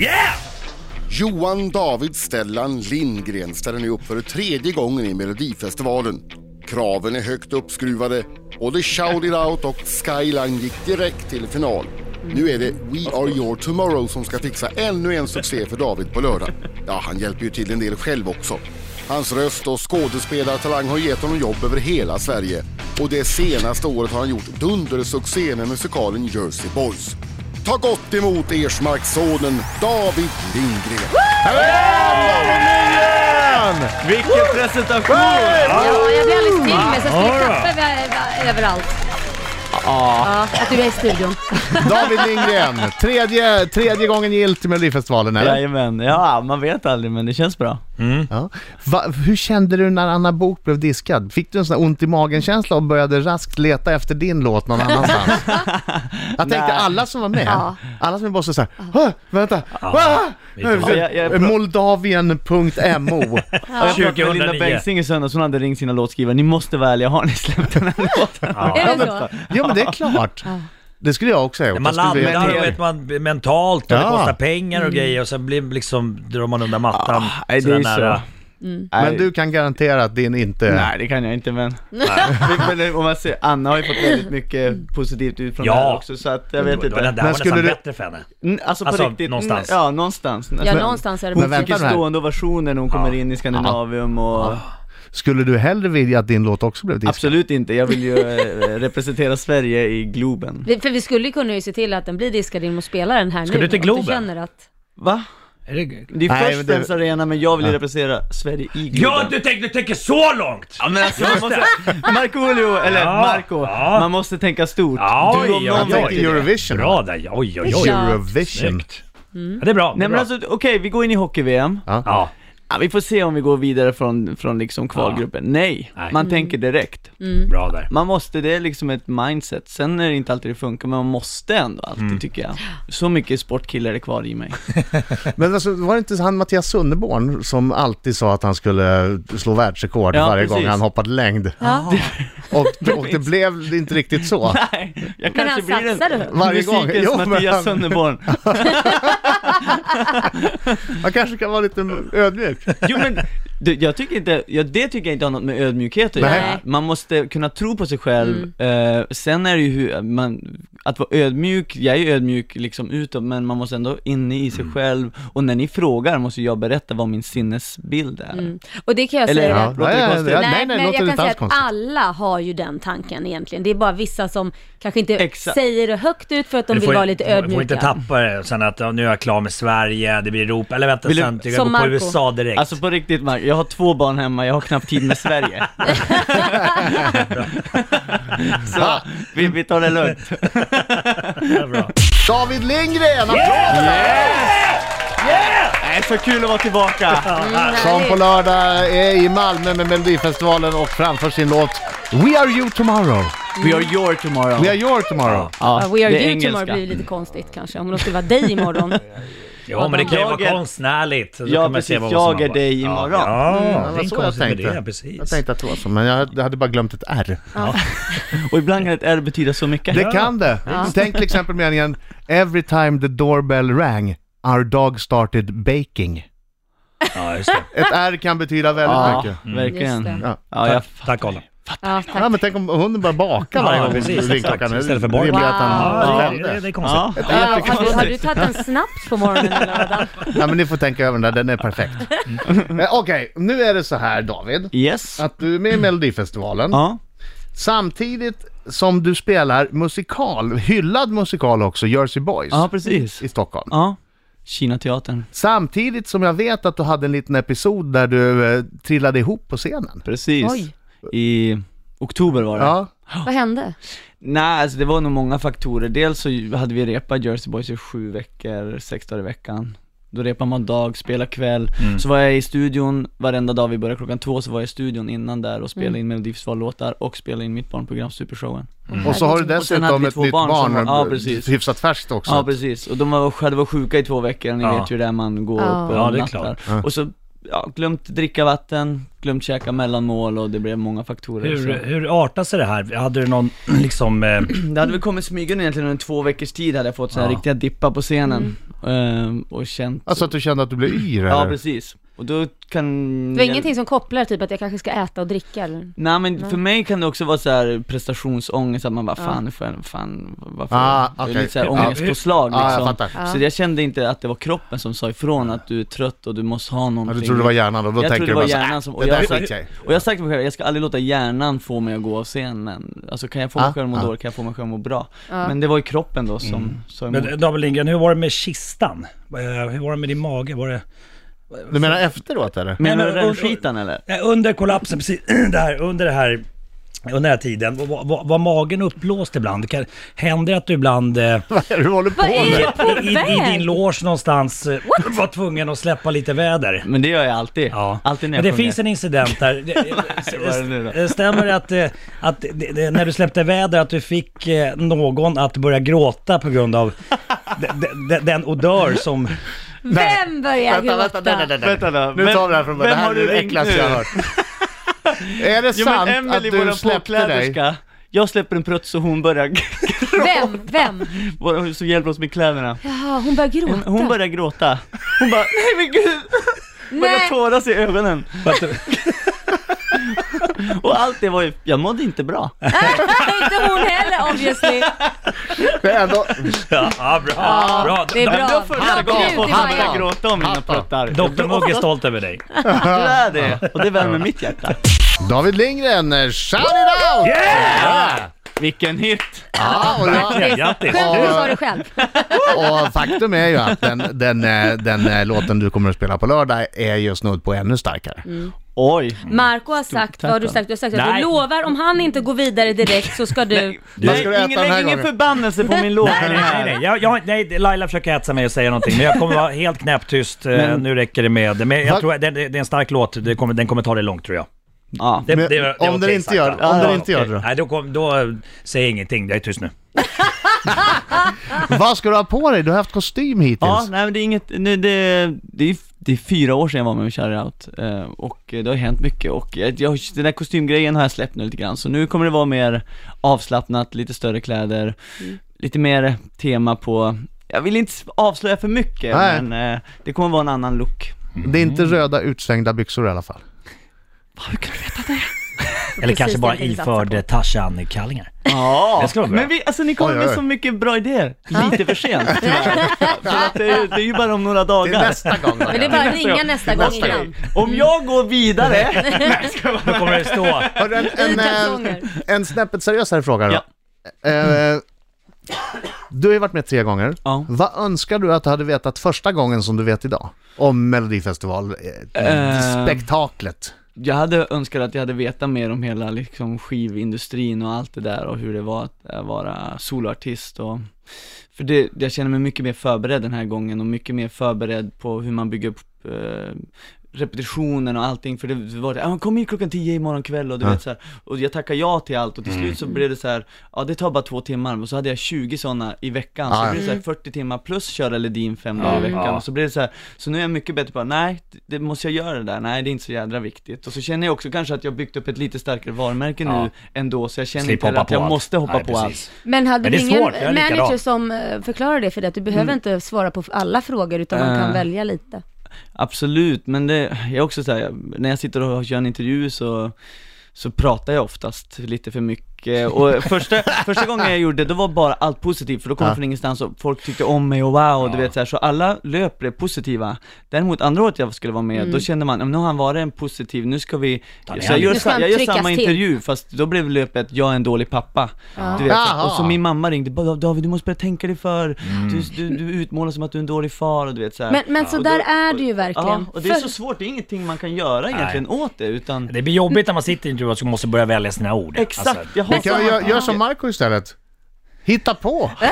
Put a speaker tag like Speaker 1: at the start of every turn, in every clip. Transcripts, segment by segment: Speaker 1: Yeah!
Speaker 2: Johan David Stellan Lindgren ställer nu upp för tredje gången i Melodifestivalen. Kraven är högt uppskruvade. Både Shout It Out och Skyline gick direkt till final. Nu är det We Are Your Tomorrow som ska fixa ännu en succé för David på lördag. Ja, han hjälper ju till en del själv också. Hans röst och skådespelartalang har gett honom jobb över hela Sverige. Och det senaste året har han gjort dundersuccé med musikalen Jersey Boys. Ta gott emot Ersmarkssonen David Lindgren.
Speaker 3: Vilken presentation!
Speaker 4: Ja, jag blir alldeles till mig så jag
Speaker 3: Ja,
Speaker 4: skulle
Speaker 3: då.
Speaker 4: klappa över- över- överallt. Ja, att du är i studion.
Speaker 5: David Lindgren, tredje, tredje gången gillt i Melodifestivalen eller?
Speaker 3: Jajamän, ja man vet aldrig men det känns bra.
Speaker 5: Ja. Va, hur kände du när Anna Bok blev diskad? Fick du en sån här ont i magen-känsla och började raskt leta efter din låt någon annanstans? Jag tänkte
Speaker 3: Nej.
Speaker 5: alla som var med,
Speaker 4: Ja.
Speaker 5: alla som är bara så här, "Hå, vänta, ah.
Speaker 3: jag- jag-
Speaker 5: Moldavien.mo
Speaker 3: Ja. Jag pratade med
Speaker 1: 2009.
Speaker 3: Linda Bengtzing i söndags, hon hade ringt sina låtskrivare, ni måste vara ärliga, har ni släppt den här låten?
Speaker 4: Är det så?
Speaker 5: Ja men det är klart, det skulle jag också ha gjort.
Speaker 1: Man
Speaker 5: Jag skulle vilja-
Speaker 1: laddar och vet man mentalt och det
Speaker 5: Ja.
Speaker 1: kostar pengar och grejer och sen blir liksom, drar man undan mattan.
Speaker 3: Ah, nej, det
Speaker 1: sådär
Speaker 3: är så.
Speaker 1: nära.
Speaker 5: Men du kan garantera att din inte...
Speaker 3: Nej det kan jag inte men... men men om man ser, Anna har ju fått väldigt mycket positivt ut från
Speaker 1: Ja.
Speaker 3: det här också så att jag vet
Speaker 1: Det var, det
Speaker 3: inte.
Speaker 1: där var nästan
Speaker 5: skulle du-
Speaker 1: bättre för henne.
Speaker 3: Mm, Alltså på
Speaker 1: Alltså,
Speaker 3: riktigt,
Speaker 1: någonstans.
Speaker 3: ja någonstans.
Speaker 4: Ja,
Speaker 3: Men-
Speaker 4: någonstans är det
Speaker 5: Men
Speaker 4: bara-
Speaker 5: vänta
Speaker 3: Mycket
Speaker 5: nu här.
Speaker 3: stående ovationer när hon kommer in i Skandinavium och...
Speaker 5: Skulle du hellre vilja att din låt också blev diskad?
Speaker 3: Absolut inte, jag vill ju eh, representera Sverige i Globen.
Speaker 4: Vi- För vi skulle ju kunna ju se till att den blir diskad genom att spela den här nu.
Speaker 1: du till
Speaker 4: Att
Speaker 1: Globen?
Speaker 4: Du känner att...
Speaker 3: Va?
Speaker 1: Är det-
Speaker 3: Det är
Speaker 5: Nej,
Speaker 3: först
Speaker 5: men det-
Speaker 3: Friends Arena men jag vill ju representera Sverige i Globen.
Speaker 1: Ja, du tänker, du tänker så långt!
Speaker 3: Ja men alltså, man måste, Markoolio, eller
Speaker 1: Ja,
Speaker 3: Marco,
Speaker 1: ja.
Speaker 3: man måste tänka stort.
Speaker 1: Ja,
Speaker 3: du om
Speaker 1: ja,
Speaker 3: någon
Speaker 1: ja,
Speaker 3: tänker
Speaker 1: ja.
Speaker 3: det.
Speaker 5: Eurovision.
Speaker 1: Bra där, oj oj oj.
Speaker 4: Ja.
Speaker 5: Eurovision.
Speaker 1: Snyggt. Ja, det är bra. Det
Speaker 3: Nej
Speaker 1: är
Speaker 3: men
Speaker 1: bra.
Speaker 3: alltså okej, vi går in i hockey-VM.
Speaker 5: Ja.
Speaker 1: Ja.
Speaker 3: Ja, vi får se om vi går vidare från, från liksom kvalgruppen. Nej,
Speaker 1: Nej.
Speaker 3: man tänker
Speaker 4: Mm.
Speaker 3: direkt.
Speaker 1: Bra där.
Speaker 3: Man måste, det är liksom ett mindset. Sen är det inte alltid det funkar, men man måste ändå alltid
Speaker 1: Mm.
Speaker 3: tycker jag. Så mycket sportkillar är kvar i mig.
Speaker 5: Men alltså, var det inte han Mattias Sunderborn som alltid sa att han skulle slå världsrekord
Speaker 3: Ja,
Speaker 5: varje
Speaker 3: precis.
Speaker 5: gång han hoppade längd? Och, och det blev inte riktigt så.
Speaker 3: Nej, jag
Speaker 4: Men
Speaker 3: kanske
Speaker 4: han
Speaker 3: blir en...
Speaker 4: satsar du?
Speaker 5: Varje gång.
Speaker 3: Musikens
Speaker 5: Jo, men
Speaker 3: Mattias
Speaker 5: han-
Speaker 3: Sunderborn.
Speaker 5: Han kanske kan vara lite ödmjuk.
Speaker 3: Jo men, det, jag tycker inte, ja, det tycker jag inte har något med ödmjukhet att
Speaker 5: Nej.
Speaker 3: göra. Man måste kunna tro på sig själv,
Speaker 4: Mm.
Speaker 3: eh, sen är det ju hur man, att vara ödmjuk, jag är ju ödmjuk liksom utåt, men man måste ändå inne i sig
Speaker 5: Mm.
Speaker 3: själv, och när ni frågar måste jag berätta vad min sinnesbild är.
Speaker 4: Och det kan jag
Speaker 3: Eller-
Speaker 4: säga.
Speaker 3: Ja, låter det konstigt?
Speaker 5: nej, nej,
Speaker 4: men
Speaker 5: låter
Speaker 4: jag
Speaker 5: det
Speaker 4: kan
Speaker 5: inte
Speaker 4: säga
Speaker 5: alls
Speaker 4: att
Speaker 5: konstigt.
Speaker 4: alla har ju den tanken egentligen. Det är bara vissa som kanske inte
Speaker 3: Exakt.
Speaker 4: säger det högt ut för att de
Speaker 1: Du
Speaker 4: vill
Speaker 1: får,
Speaker 4: vara lite
Speaker 1: får-
Speaker 4: ödmjuka.
Speaker 1: får inte tappa det sen att ja, nu är jag klar med Sverige, det blir Europa, eller vänta
Speaker 3: Vill du-
Speaker 1: sen, du,
Speaker 4: Som
Speaker 1: jag går på
Speaker 4: Marco.
Speaker 1: USA direkt.
Speaker 3: Alltså på riktigt Mark, jag har två barn hemma, jag har knappt tid med Sverige. Så, vi, vi tar det lugnt.
Speaker 1: Ja, bra.
Speaker 5: David Lindgren!
Speaker 3: Nej, så kul att vara tillbaka!
Speaker 4: Mm,
Speaker 5: Som på lördag är i Malmö med Melodifestivalen och framför sin låt We Are You Tomorrow.
Speaker 3: We are your tomorrow.
Speaker 5: We Are Your
Speaker 3: ja,
Speaker 5: Tomorrow.
Speaker 4: Ja, We Are
Speaker 3: det är
Speaker 4: You
Speaker 3: engelska.
Speaker 4: Tomorrow blir lite konstigt kanske, om det skulle vara dig imorgon.
Speaker 1: Ja, men det kan ju
Speaker 3: Jag
Speaker 1: vara
Speaker 3: är-
Speaker 1: konstnärligt. Då
Speaker 3: Ja,
Speaker 1: kan man se
Speaker 3: precis.
Speaker 1: vad som har
Speaker 3: Jag är
Speaker 1: varit.
Speaker 3: dig imorgon.
Speaker 1: Ja,
Speaker 5: det
Speaker 1: ja det
Speaker 5: var
Speaker 1: är
Speaker 5: så
Speaker 1: inte
Speaker 5: jag
Speaker 1: konstigt med
Speaker 5: tänkte.
Speaker 1: det, precis.
Speaker 5: Jag tänkte att det var så, men jag hade bara glömt ett R.
Speaker 3: Och ibland kan ett R betyda så mycket.
Speaker 5: Det kan det. Tänk till exempel meningen Every time the doorbell rang, our dog started baking.
Speaker 1: Ja, just det.
Speaker 5: Ett R kan betyda väldigt mycket.
Speaker 4: Just
Speaker 3: verkligen.
Speaker 4: det.
Speaker 5: Ja.
Speaker 3: Ja, jag
Speaker 1: Tack Adam.
Speaker 4: Ja, tack.
Speaker 5: Ja, men tänk om hunden bara bakar varje
Speaker 1: Ja,
Speaker 5: gång
Speaker 1: precis,
Speaker 5: ringklockan
Speaker 1: exakt.
Speaker 5: är.
Speaker 1: Istället för bark.
Speaker 5: Rimligt att han
Speaker 1: Ja,
Speaker 5: fällde.
Speaker 1: det, det är konstigt.
Speaker 3: Ja.
Speaker 4: Ja, har, du, har du tagit en snaps på morgonen eller vad? Dan?
Speaker 5: Ja, men ni får tänka över den där, den är perfekt. Eh, Okej, nu är det så här David,
Speaker 3: Yes.
Speaker 5: att du är med i Melodifestivalen.
Speaker 3: Ja.
Speaker 5: Samtidigt som du spelar musikal, hyllad musikal också, Jersey Boys
Speaker 3: Ja, precis.
Speaker 5: i Stockholm.
Speaker 3: Ja. Kinateatern.
Speaker 5: Samtidigt som jag vet att du hade en liten episod där du eh, trillade ihop på scenen.
Speaker 3: Precis.
Speaker 4: Oj.
Speaker 3: I oktober var det.
Speaker 5: Ja,
Speaker 4: Vad hände?
Speaker 3: Nej, alltså det var nog många faktorer. Dels så hade vi repat Jersey Boys i sju veckor, sex dagar i veckan. Då repar man dag, spelar kväll. Så var jag i studion varenda dag, vi började klockan två, så var jag i studion innan där och spelade in Melodifestivallåtar och spelade in mitt barnprogram Supershowen.
Speaker 5: och så har du
Speaker 4: Herregud.
Speaker 3: Och sen hade
Speaker 5: dessutom
Speaker 3: vi
Speaker 5: ett
Speaker 3: två
Speaker 5: nytt
Speaker 3: barn som
Speaker 5: barn,
Speaker 3: var- ja, precis.
Speaker 5: hyfsat färskt också.
Speaker 3: Ja precis, och de var, hade varit sjuka i två veckor, ni
Speaker 1: Ja.
Speaker 3: vet ju det är man går
Speaker 4: Ja.
Speaker 3: upp och
Speaker 1: Ja, det är
Speaker 3: nattar. Och så, ja, glömt dricka vatten, glömt käka mellanmål och det blev många faktorer så.
Speaker 1: Hur, hur artar sig det här? Hade du någon liksom... Eh,
Speaker 3: Det hade väl kommit smygande egentligen under två veckors tid hade jag fått sådana här riktiga dippar på scenen ehm, och känt
Speaker 5: Alltså att du kände att du blev yr eller?
Speaker 3: Ja precis, och då kan
Speaker 4: Det var ingenting som kopplar typ att jag kanske ska äta och dricka eller?
Speaker 3: Nej men
Speaker 4: Nej.
Speaker 3: för mig kan det också vara så här prestationsångest, att man bara
Speaker 4: Ja.
Speaker 3: fan, fan, fan varför?
Speaker 5: Ah,
Speaker 3: Det är
Speaker 5: okej.
Speaker 3: Lite såhär
Speaker 5: Ja.
Speaker 3: ångestpåslag
Speaker 5: Ja, jag
Speaker 3: liksom
Speaker 5: fattar.
Speaker 4: Ja.
Speaker 3: Så jag kände inte att det var kroppen som sa ifrån att du är trött och du måste ha
Speaker 5: Ja,
Speaker 3: någonting
Speaker 5: du trodde det var hjärnan då, då
Speaker 3: Jag
Speaker 5: tänker
Speaker 3: trodde det
Speaker 5: du
Speaker 3: var
Speaker 5: bara så,
Speaker 3: hjärnan
Speaker 5: "Äh,
Speaker 3: som, och
Speaker 5: det
Speaker 3: jag,
Speaker 5: där
Speaker 3: har
Speaker 5: skiter
Speaker 3: sagt,
Speaker 5: jag i."
Speaker 3: och jag har sagt till mig själv, jag ska aldrig låta hjärnan få mig att gå av scenen Alltså kan jag få
Speaker 5: Ah,
Speaker 3: mig själv att må
Speaker 5: ah. Mm.
Speaker 3: dåligt, kan jag få mig själv att må bra?
Speaker 4: Ja.
Speaker 3: Men det var ju kroppen då som sa emot
Speaker 1: Men eh, David Lindgren, hur var det med kistan? Eh, Hur var det med din mage? Var det...
Speaker 5: Du menar efteråt eller?
Speaker 3: Menar
Speaker 1: Nej,
Speaker 3: du
Speaker 1: men-
Speaker 3: den skiten eller?
Speaker 1: Nej, Under kollapsen, precis det här, under det här, under den här tiden, var, var, var magen uppblåst ibland? Kan, händer det att du ibland eh,
Speaker 5: Vad är det du håller på
Speaker 4: Vad är
Speaker 5: med?
Speaker 4: du på
Speaker 1: i, i din
Speaker 4: väg?
Speaker 1: loge någonstans eh, var tvungen att släppa lite väder?
Speaker 3: Men det gör jag alltid,
Speaker 1: Ja.
Speaker 3: alltid när
Speaker 1: Men
Speaker 3: jag
Speaker 1: det
Speaker 3: sjunger.
Speaker 1: finns en incident där. Det-
Speaker 3: vad är det nu då?
Speaker 1: eh, Stämmer det att, eh, att det- det- när du släppte väder att du fick eh, någon att börja gråta på grund av de- de- de- den odör som...
Speaker 4: Vem börjar gråta?
Speaker 3: Vänta då,
Speaker 5: Nu tar vi det här från början, det
Speaker 3: vem
Speaker 5: här
Speaker 3: har
Speaker 5: är det
Speaker 3: ringt
Speaker 5: äckligaste
Speaker 3: nu?
Speaker 5: jag har hört. Är det
Speaker 3: Jo men
Speaker 5: sant att
Speaker 3: Emelie,
Speaker 5: du
Speaker 3: våran
Speaker 5: släppte dig?
Speaker 3: påkläderska, jag släpper en prutt så hon börjar,
Speaker 4: Vem? Vem?
Speaker 3: vår- som hjälper oss med kläderna
Speaker 4: Jaha, hon börjar
Speaker 3: Hon,
Speaker 4: gråta.
Speaker 3: hon börjar gråta, hon bara nej men gud, börjar
Speaker 4: Nej,
Speaker 3: tåras i ögonen
Speaker 1: för att du-
Speaker 3: Och allt det var ju, jag mådde inte bra
Speaker 4: inte hon heller obviously.
Speaker 5: Det är ändå...
Speaker 1: Ja, bra, bra.
Speaker 4: Det är
Speaker 1: Doktor-
Speaker 4: bra.
Speaker 3: Första gången jag
Speaker 4: Bra
Speaker 3: får
Speaker 4: krut i
Speaker 3: börja
Speaker 4: magen.
Speaker 3: gråta om mina pruttar
Speaker 1: Doktor Mugg är stolt över dig.
Speaker 3: Du är det, och det värmer mitt hjärta
Speaker 5: David Lindgren, eh, shout it out!
Speaker 1: Yeah!
Speaker 3: Vilken hit!
Speaker 5: Ja, och, jag,
Speaker 1: Verkligen, grattis!
Speaker 4: Själv du sa det själv.
Speaker 5: och faktum är ju att den, den, eh, den eh, låten du kommer att spela på lördag är ju snudd på ännu starkare.
Speaker 3: Oj!
Speaker 4: Marco har sagt, vad har du sagt? Du har sagt att du
Speaker 1: Nej.
Speaker 4: lovar om han inte går vidare direkt så ska du...
Speaker 5: Vad ska du äta
Speaker 3: ingen,
Speaker 5: den här
Speaker 3: ingen
Speaker 5: gången?
Speaker 3: förbannelse på min låt
Speaker 1: Nej, nej, nej, nej. Jag, jag, nej, Laila försöker hetsa mig och säga någonting, men jag kommer vara helt knäpptyst. Eh,
Speaker 3: Men-
Speaker 1: nu räcker det med... Men
Speaker 5: Va?
Speaker 1: jag tror, det, det det är en stark låt, det kommer, den kommer ta det långt tror jag.
Speaker 3: Ja.
Speaker 1: Det,
Speaker 5: Men
Speaker 1: det- det är
Speaker 5: om den
Speaker 1: okej
Speaker 5: inte
Speaker 1: sagt,
Speaker 5: gör-
Speaker 1: va?
Speaker 5: om den
Speaker 1: Ja,
Speaker 5: inte gör
Speaker 1: okej.
Speaker 5: det då?
Speaker 1: Nej, då, kom, då eh, säger jag ingenting. Jag är tyst nu.
Speaker 5: Vad ska du ha på dig? Du har haft kostym
Speaker 3: Ja,
Speaker 5: hittills.
Speaker 3: nej men det är inget, nu, det, det, är, det är fyra år sedan jag var med i Shout Out eh, och eh, det har hänt mycket och jag, jag, den där kostymgrejen har jag släppt nu lite grann så nu kommer det vara mer avslappnat, lite större kläder,
Speaker 5: Mm.
Speaker 3: lite mer tema på, jag vill inte avslöja för mycket
Speaker 5: Nej.
Speaker 3: men eh, det kommer vara en annan look.
Speaker 5: Det är inte röda utsvängda byxor i alla fall.
Speaker 1: Eller
Speaker 4: Precis
Speaker 1: kanske
Speaker 4: det
Speaker 1: bara
Speaker 4: jag tänkte satsa på.
Speaker 1: iförd Tarzan-kallingar.
Speaker 3: Ja,
Speaker 1: Det ska vara bra.
Speaker 3: men vi, alltså ni kommer
Speaker 5: Oj,
Speaker 3: med
Speaker 5: oj.
Speaker 3: så mycket bra idéer, lite för sent tyvärr. För att det, är ju- det är ju bara om några dagar.
Speaker 5: gång.
Speaker 4: Men det är bara att ringa nästa gång
Speaker 5: Nästa
Speaker 4: innan.
Speaker 3: Om jag går vidare,
Speaker 1: Då kommer det stå...
Speaker 5: Hörru, en, en,
Speaker 4: I
Speaker 5: en,
Speaker 4: kalsonger.
Speaker 5: en snäppet seriösare fråga då. Eh, du har ju varit med tre gånger.
Speaker 3: Ja.
Speaker 5: Vad önskar du att du hade vetat första gången som du vet idag? Om
Speaker 3: Eh.
Speaker 5: Melodifestival-spektaklet.
Speaker 3: Jag hade önskat att jag hade vetat mer om hela liksom skivindustrin och allt det där och hur det var att eh, vara soloartist och För det, jag känner mig mycket mer förberedd den här gången och mycket mer förberedd på hur man bygger upp eh, repetitionen och allting för det var det, ah, kom hit klockan 10 imorgon kväll och du vet så här. Och jag tackade ja till allt och till slut så blev det så här, ja det tar bara två timmar och så hade jag 20 sådana i veckan så
Speaker 5: Ah, ja.
Speaker 3: det blev så här 40 timmar plus köra Ledin fem dagar i veckan
Speaker 1: ja.
Speaker 3: och så blev det så här, så nu är jag mycket bättre på, nej det måste jag göra det där, nej det är inte så jädra viktigt och så känner jag också kanske att jag byggt upp ett lite starkare varumärke nu
Speaker 1: Ja.
Speaker 3: ändå så jag känner
Speaker 1: Slippa
Speaker 3: inte
Speaker 1: hoppa
Speaker 3: att
Speaker 1: på
Speaker 3: jag
Speaker 1: allt.
Speaker 3: måste hoppa
Speaker 1: Nej,
Speaker 3: på allt
Speaker 1: precis.
Speaker 4: Men hade
Speaker 1: Men
Speaker 4: du
Speaker 1: det är
Speaker 4: ingen
Speaker 1: svårt, jag är likadan. Mm.
Speaker 4: manager som eh, förklarade det för dig? Att du behöver inte svara på alla frågor utan man kan
Speaker 3: Eh.
Speaker 4: välja lite.
Speaker 3: Absolut, men det, jag är också så här, när jag sitter och gör en intervju så, så pratar jag oftast lite för mycket och första, första gången jag gjorde det, då var bara allt positivt för då kom jag från ingenstans och folk tyckte om mig och wow, du vet så här, så alla löp det positiva Däremot andra året jag skulle vara med,
Speaker 4: Mm.
Speaker 3: då kände man, "Ja, men nu har han varit en positiv, nu ska vi
Speaker 1: ner
Speaker 3: Så jag gör,
Speaker 1: honom.
Speaker 4: Nu ska
Speaker 3: sa,
Speaker 4: han
Speaker 3: jag gör
Speaker 4: tryckas
Speaker 3: samma
Speaker 4: till.
Speaker 3: intervju, fast då blev löpet, jag är en dålig pappa Du vet, så-
Speaker 5: Jaha.
Speaker 3: och så min mamma ringde, "Bara, David du måste börja tänka dig för, du, du, du utmålas som att du är en dålig far och du vet så här.
Speaker 4: Men, men så
Speaker 3: och då-
Speaker 4: där är det ju
Speaker 3: Ja,
Speaker 4: verkligen.
Speaker 3: och det är
Speaker 4: För-
Speaker 3: så svårt, det är ingenting man kan göra egentligen åt det utan
Speaker 1: Det blir jobbigt när man sitter i en gruva och måste börja välja sina ord.
Speaker 3: Exakt,
Speaker 1: Alltså,
Speaker 3: jag
Speaker 5: Men
Speaker 3: har
Speaker 5: kan
Speaker 3: samma-
Speaker 5: jag gör, som Marco istället. Hitta på!
Speaker 1: ja,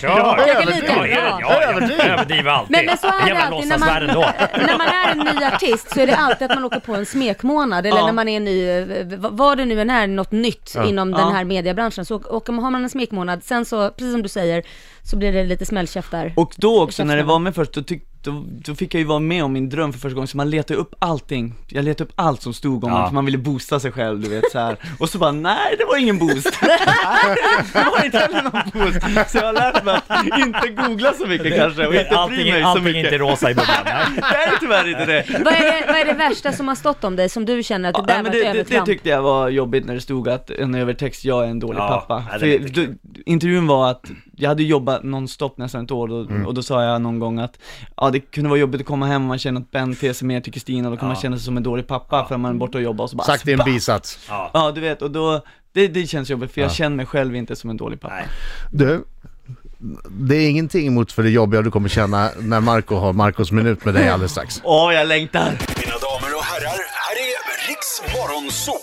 Speaker 1: kör!
Speaker 4: Jag kan lika
Speaker 1: Ja,
Speaker 4: bra.
Speaker 1: ja, jag överdriver alltid.
Speaker 4: Men, men så är det
Speaker 1: Jävla
Speaker 4: alltid när man,
Speaker 1: låtsasvärlden då.
Speaker 4: när man är en ny artist så är det alltid att man åker på en smekmånad eller
Speaker 3: Ja.
Speaker 4: när man är ny, eh, v- vad det nu än är, något nytt inom
Speaker 3: Ja.
Speaker 4: den här mediebranschen så åker, man- har man en smekmånad, sen så, precis som du säger, så blir det lite smällkäftar.
Speaker 3: Och då också när det var med först, då tyck, då, då fick jag ju vara med om min dröm för första gången, så man letade upp allting, jag letade upp allt som stod om
Speaker 1: Ja.
Speaker 3: ja. för man ville boosta sig själv du vet så här. och så bara nej det var ingen boost, nej det var inte heller någon boost, så jag har lärt mig att inte googla så mycket kanske och inte bry
Speaker 1: Allting,
Speaker 3: mig så
Speaker 1: allting är
Speaker 3: mycket.
Speaker 1: inte rosa i bubblan. nej.
Speaker 3: Nej tyvärr inte det.
Speaker 4: Vad är, det, vad är det värsta som har stått om dig som du känner att det där
Speaker 3: Ja,
Speaker 4: var
Speaker 3: men
Speaker 4: ett
Speaker 3: det, det, det
Speaker 4: övertramp?
Speaker 3: tyckte jag var jobbigt när det stod att en övertext, jag är en dålig
Speaker 1: Ja,
Speaker 3: pappa.
Speaker 1: nej, det är
Speaker 3: För
Speaker 1: inte
Speaker 3: du, intervjun var att jag hade jobbat nonstop nästan ett år då,
Speaker 5: Mm.
Speaker 3: och då sa jag någon gång att ja, det kunde vara jobbigt att komma hem och man känner att Ben ter sig mer till Kristina och då kan man känna sig som en dålig pappa för att man är borta och jobbar och så bara
Speaker 5: Sagt i en bisats.
Speaker 1: Ja.
Speaker 3: Ja du vet, och då, det, det känns jobbigt för jag känner mig själv inte som en dålig pappa.
Speaker 1: Nej.
Speaker 5: Du, det är ingenting mot för det jobbiga du kommer känna när Marco har Marcos minut med dig alldeles strax.
Speaker 3: Åh jag längtar!
Speaker 6: Mina damer och herrar, här är Riks Morgonzoo!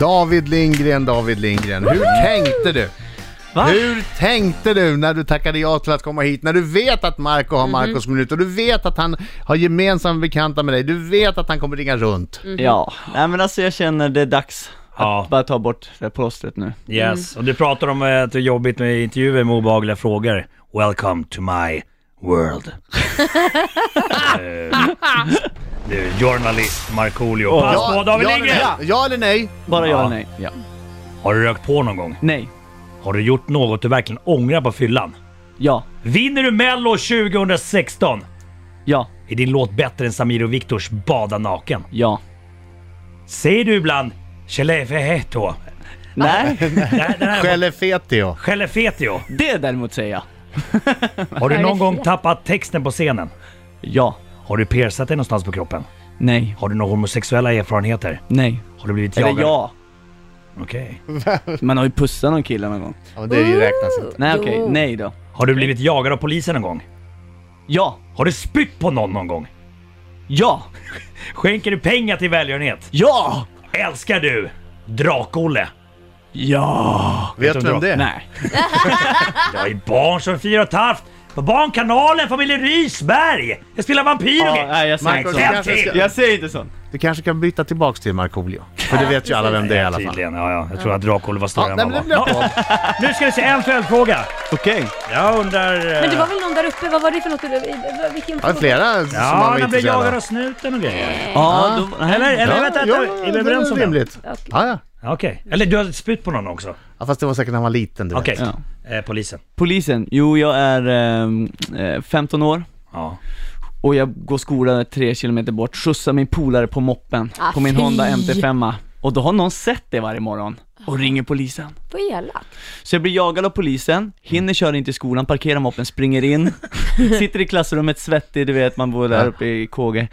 Speaker 5: David Lindgren, David Lindgren, hur tänkte du?
Speaker 3: Va?
Speaker 5: Hur tänkte du när du tackade ja till att komma hit? När du vet att Marco har Marcos minut och du vet att han har gemensamma bekanta med dig. Du vet att han kommer ringa runt.
Speaker 3: Ja, nej men alltså jag känner det är dags att
Speaker 1: Ja.
Speaker 3: bara ta bort det här plåstret nu.
Speaker 1: Yes, och du pratar om eh, att det är jobbigt med intervjuer med obehagliga frågor. Welcome to my world. Eh, Du är journalist Markoolio. Pass på David
Speaker 5: ja,
Speaker 1: Lindgren!
Speaker 5: ja, ja eller nej?
Speaker 3: Bara
Speaker 1: Ja.
Speaker 3: ja eller nej? Ja.
Speaker 1: Har du rökt på någon gång?
Speaker 3: Nej.
Speaker 1: Har du gjort något du verkligen ångrar på fyllan?
Speaker 3: Ja.
Speaker 1: Vinner du Mello 2016?
Speaker 3: Ja.
Speaker 1: Är din låt bättre än Samir och Viktors Bada naken?
Speaker 3: Ja.
Speaker 1: Säger du ibland Chelefehetto?
Speaker 3: Nej.
Speaker 5: Skellefteå.
Speaker 1: Chelefetio?
Speaker 3: Det däremot säger jag.
Speaker 1: Har du någon gång tappat texten på scenen?
Speaker 3: Ja.
Speaker 1: Har du piercat dig någonstans på kroppen?
Speaker 3: Nej.
Speaker 1: Har du några homosexuella erfarenheter?
Speaker 3: Nej.
Speaker 1: Har du blivit jagad?
Speaker 3: Eller ja.
Speaker 1: Okej.
Speaker 3: Man har ju pussat någon kille någon gång.
Speaker 5: Ja, men det räknas inte.
Speaker 3: Nej okej,
Speaker 4: Jo.
Speaker 3: nej då.
Speaker 1: Har du blivit jagad av polisen någon gång?
Speaker 3: Ja.
Speaker 1: Har du spytt på någon någon gång?
Speaker 3: Ja.
Speaker 1: Skänker du pengar till välgörenhet?
Speaker 3: Ja.
Speaker 1: Älskar du Drak-Olle?
Speaker 3: Ja.
Speaker 5: Vet du vem det är?
Speaker 3: Nej.
Speaker 1: Jag har ju barn som är fyra och ett halvt. På Barnkanalen, familjen Rysberg! Jag spelar vampyr och
Speaker 3: Ja,
Speaker 1: grejer.
Speaker 3: nej, jag säger
Speaker 1: Marcus,
Speaker 5: inte så.
Speaker 1: en till!
Speaker 5: Jag
Speaker 3: Jag säger inte sånt.
Speaker 5: Du kanske kan byta tillbaks till Markoolio. För det vet ju alla vem det är i alla fall.
Speaker 1: Tydligen, ja, ja. Jag tror att Drak-Olle var
Speaker 5: Ja,
Speaker 1: större
Speaker 5: nej, men
Speaker 1: än
Speaker 5: det
Speaker 1: vad
Speaker 5: blir
Speaker 1: jag var.
Speaker 5: bra.
Speaker 1: Ja, Nu ska vi se en följdfråga.
Speaker 3: Okej.
Speaker 1: Jag undrar... eh,
Speaker 4: Men det var väl någon där uppe, vad var det för något? Vilken
Speaker 5: Ja, det är flera som man
Speaker 1: eh, Ja,
Speaker 5: var
Speaker 1: han blev
Speaker 5: intresserad
Speaker 1: jagad av
Speaker 5: av.
Speaker 1: snuten och grejer.
Speaker 3: Ja, då,
Speaker 1: Eller,
Speaker 3: nej.
Speaker 1: eller vänta, vänta. är vi överens om
Speaker 5: det? är
Speaker 1: det?
Speaker 5: rimligt. Ja, ja.
Speaker 1: Ja, Okej. Eller du har spytt på någon också?
Speaker 5: ja, fast det var säkert när han var liten. Du vet.
Speaker 1: Okej.
Speaker 3: Ja.
Speaker 1: Eh, polisen.
Speaker 3: Polisen. Jo, jag är ehm, eh, 15 år
Speaker 1: Ja.
Speaker 3: och jag går skolan tre kilometer bort, skjutsar min polare på moppen
Speaker 4: Ah,
Speaker 3: på min
Speaker 4: fy.
Speaker 3: Honda MT5. Och då har någon sett det varje morgon och ringer polisen.
Speaker 4: Vad elakt.
Speaker 3: Så jag blir jagad av polisen, hinner köra in till skolan, parkerar moppen, springer in, sitter i klassrummet svettig, du vet man bor där uppe i KG.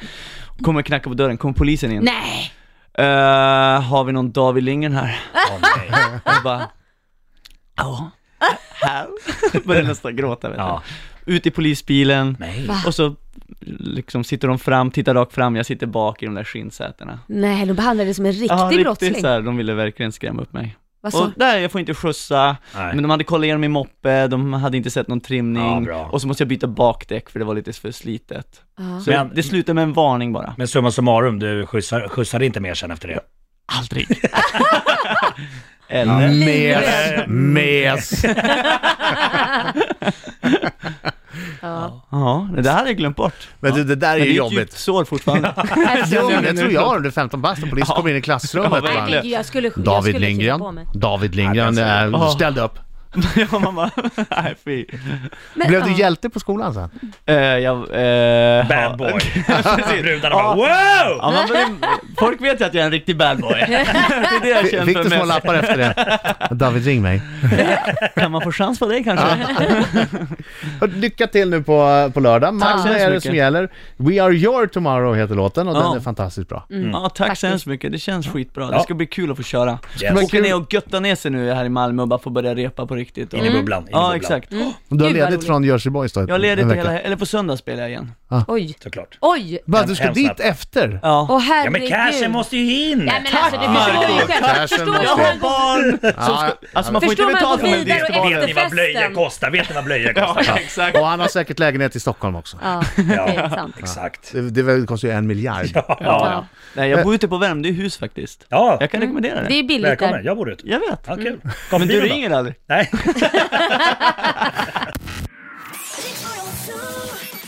Speaker 3: Kommer knacka på dörren, kommer polisen in.
Speaker 4: Nej!
Speaker 3: Eh, har vi någon David Lindgren här?
Speaker 1: Åh, nej.
Speaker 3: Jag bara, ja. Här? Börjar nästan gråta vet du.
Speaker 1: Ja.
Speaker 3: Ut i polisbilen,
Speaker 1: Nej.
Speaker 3: och så liksom sitter de fram, tittar rakt fram, jag sitter bak i de där skinnsätena.
Speaker 4: Nej, de behandlade dig som en riktig
Speaker 3: Ja,
Speaker 4: brottsling.
Speaker 3: så här, de ville verkligen skrämma upp mig.
Speaker 4: Vad
Speaker 3: Och
Speaker 4: så?
Speaker 3: där, jag får inte skjutsa,
Speaker 1: Nej.
Speaker 3: men de hade kollat igenom min moppe, de hade inte sett någon
Speaker 1: Ja,
Speaker 3: trimning,
Speaker 1: bra.
Speaker 3: och så måste jag byta bakdäck för det var lite för slitet.
Speaker 4: Ja.
Speaker 3: Så
Speaker 1: Men-
Speaker 3: det slutade med en varning bara.
Speaker 1: Men summa summarum, du skjutsar, skjutsade inte mer sen efter det?
Speaker 3: Aldrig. Eller?
Speaker 5: Mm. Mes, mes.
Speaker 4: Ja.
Speaker 3: Ja, det där hade jag glömt bort.
Speaker 5: Men du, det där är
Speaker 3: Men
Speaker 5: ju
Speaker 3: det är ett djupt
Speaker 5: jobbigt.
Speaker 3: sår fortfarande.
Speaker 4: Alltså,
Speaker 5: Jo, men det
Speaker 3: nu
Speaker 5: tror
Speaker 3: är det
Speaker 5: jag
Speaker 3: klart.
Speaker 5: under 15 bast och polisen
Speaker 3: Ja.
Speaker 5: kommer in i
Speaker 3: Ja,
Speaker 5: klassrummet.
Speaker 3: verkligen.
Speaker 5: bara,
Speaker 4: Nej, men jag skulle, jag skulle
Speaker 5: David
Speaker 4: titta på
Speaker 5: Lindgren,
Speaker 4: mig.
Speaker 5: David
Speaker 1: Ja,
Speaker 5: Lindgren
Speaker 1: det är
Speaker 5: äh,
Speaker 3: Ja.
Speaker 5: ställde upp.
Speaker 3: ja, man bara, nej fy.
Speaker 4: Men, Ah,
Speaker 5: Blev du
Speaker 4: ja.
Speaker 5: hjälte på skolan sen?
Speaker 3: Eh, jag, eh,
Speaker 1: Bad
Speaker 3: ja.
Speaker 1: boy. Brudarna bara
Speaker 3: Ja.
Speaker 1: wow!
Speaker 3: Ja, man, men, folk vet ju att jag är en riktig bad boy. det är det jag
Speaker 5: Fick
Speaker 3: kämpar
Speaker 5: du små
Speaker 3: med.
Speaker 5: lappar efter det? David, ring mig.
Speaker 3: Kan man få chans på det kanske?
Speaker 5: Och Lycka till nu på, på lördag.
Speaker 3: så
Speaker 5: Malmö
Speaker 3: hemskt
Speaker 5: är det
Speaker 3: mycket.
Speaker 5: som gäller. We are your tomorrow heter låten och
Speaker 3: Ja.
Speaker 5: den är fantastiskt bra.
Speaker 1: Mm.
Speaker 3: Ja, tack så hemskt mycket. Det känns skitbra. Det ska bli kul att få köra.
Speaker 1: Yes.
Speaker 3: Åka ner och götta ner sig nu här i Malmö och bara få börja repa på riktigt. Och...
Speaker 1: In i bubblan. In i bubblan.
Speaker 3: Ja, exakt.
Speaker 4: Mm.
Speaker 5: Du har
Speaker 4: Gud, vad
Speaker 5: ledigt
Speaker 4: roligt.
Speaker 5: från Jersey Boys då?
Speaker 3: Jag har ledigt
Speaker 5: en vecka.
Speaker 3: hela, eller på söndag spelar jag igen.
Speaker 4: Oj,
Speaker 1: Såklart.
Speaker 4: oj!
Speaker 5: Bara, du ska
Speaker 1: Hemskt
Speaker 5: dit
Speaker 1: snabbt.
Speaker 5: efter?
Speaker 3: Ja.
Speaker 4: Åh
Speaker 1: Ja men
Speaker 4: herregud!
Speaker 1: cashen måste ju in!
Speaker 4: Nej men alltså, du
Speaker 3: Tack,
Speaker 4: förstår ju
Speaker 3: Marco.
Speaker 4: själv. Förstår
Speaker 5: Cashen
Speaker 4: du
Speaker 5: måste in.
Speaker 3: Jag
Speaker 4: hur
Speaker 3: har
Speaker 4: han går-
Speaker 3: barn! Som
Speaker 5: Ja,
Speaker 3: ska... Alltså man får
Speaker 4: Förstår
Speaker 3: inte
Speaker 4: man
Speaker 3: betalt
Speaker 4: går
Speaker 3: för en
Speaker 4: vidare och
Speaker 3: discobar.
Speaker 4: efter-
Speaker 1: Vet ni vad
Speaker 4: festen.
Speaker 1: blöjor kostar? Vet ni vad blöjor
Speaker 3: Ja,
Speaker 1: kostar?
Speaker 3: exakt.
Speaker 5: Och han har säkert lägenhet i Stockholm också.
Speaker 4: Ja, okej, sant.
Speaker 1: Exakt.
Speaker 5: Det, det kostar ju en miljard.
Speaker 1: Ja, ja.
Speaker 3: Nej, jag bor ute på Värmdö hus faktiskt.
Speaker 1: ja
Speaker 3: Jag kan rekommendera
Speaker 4: Mm. Det
Speaker 3: det.
Speaker 4: är billigt
Speaker 1: välkommen.
Speaker 4: där.
Speaker 1: Jag bor ute.
Speaker 3: Jag vet.
Speaker 1: Ja, kul.
Speaker 3: Men
Speaker 1: Kom
Speaker 3: du
Speaker 1: bilen då.
Speaker 3: ringer aldrig?
Speaker 1: Nej.
Speaker 7: Riks Morgonzoo.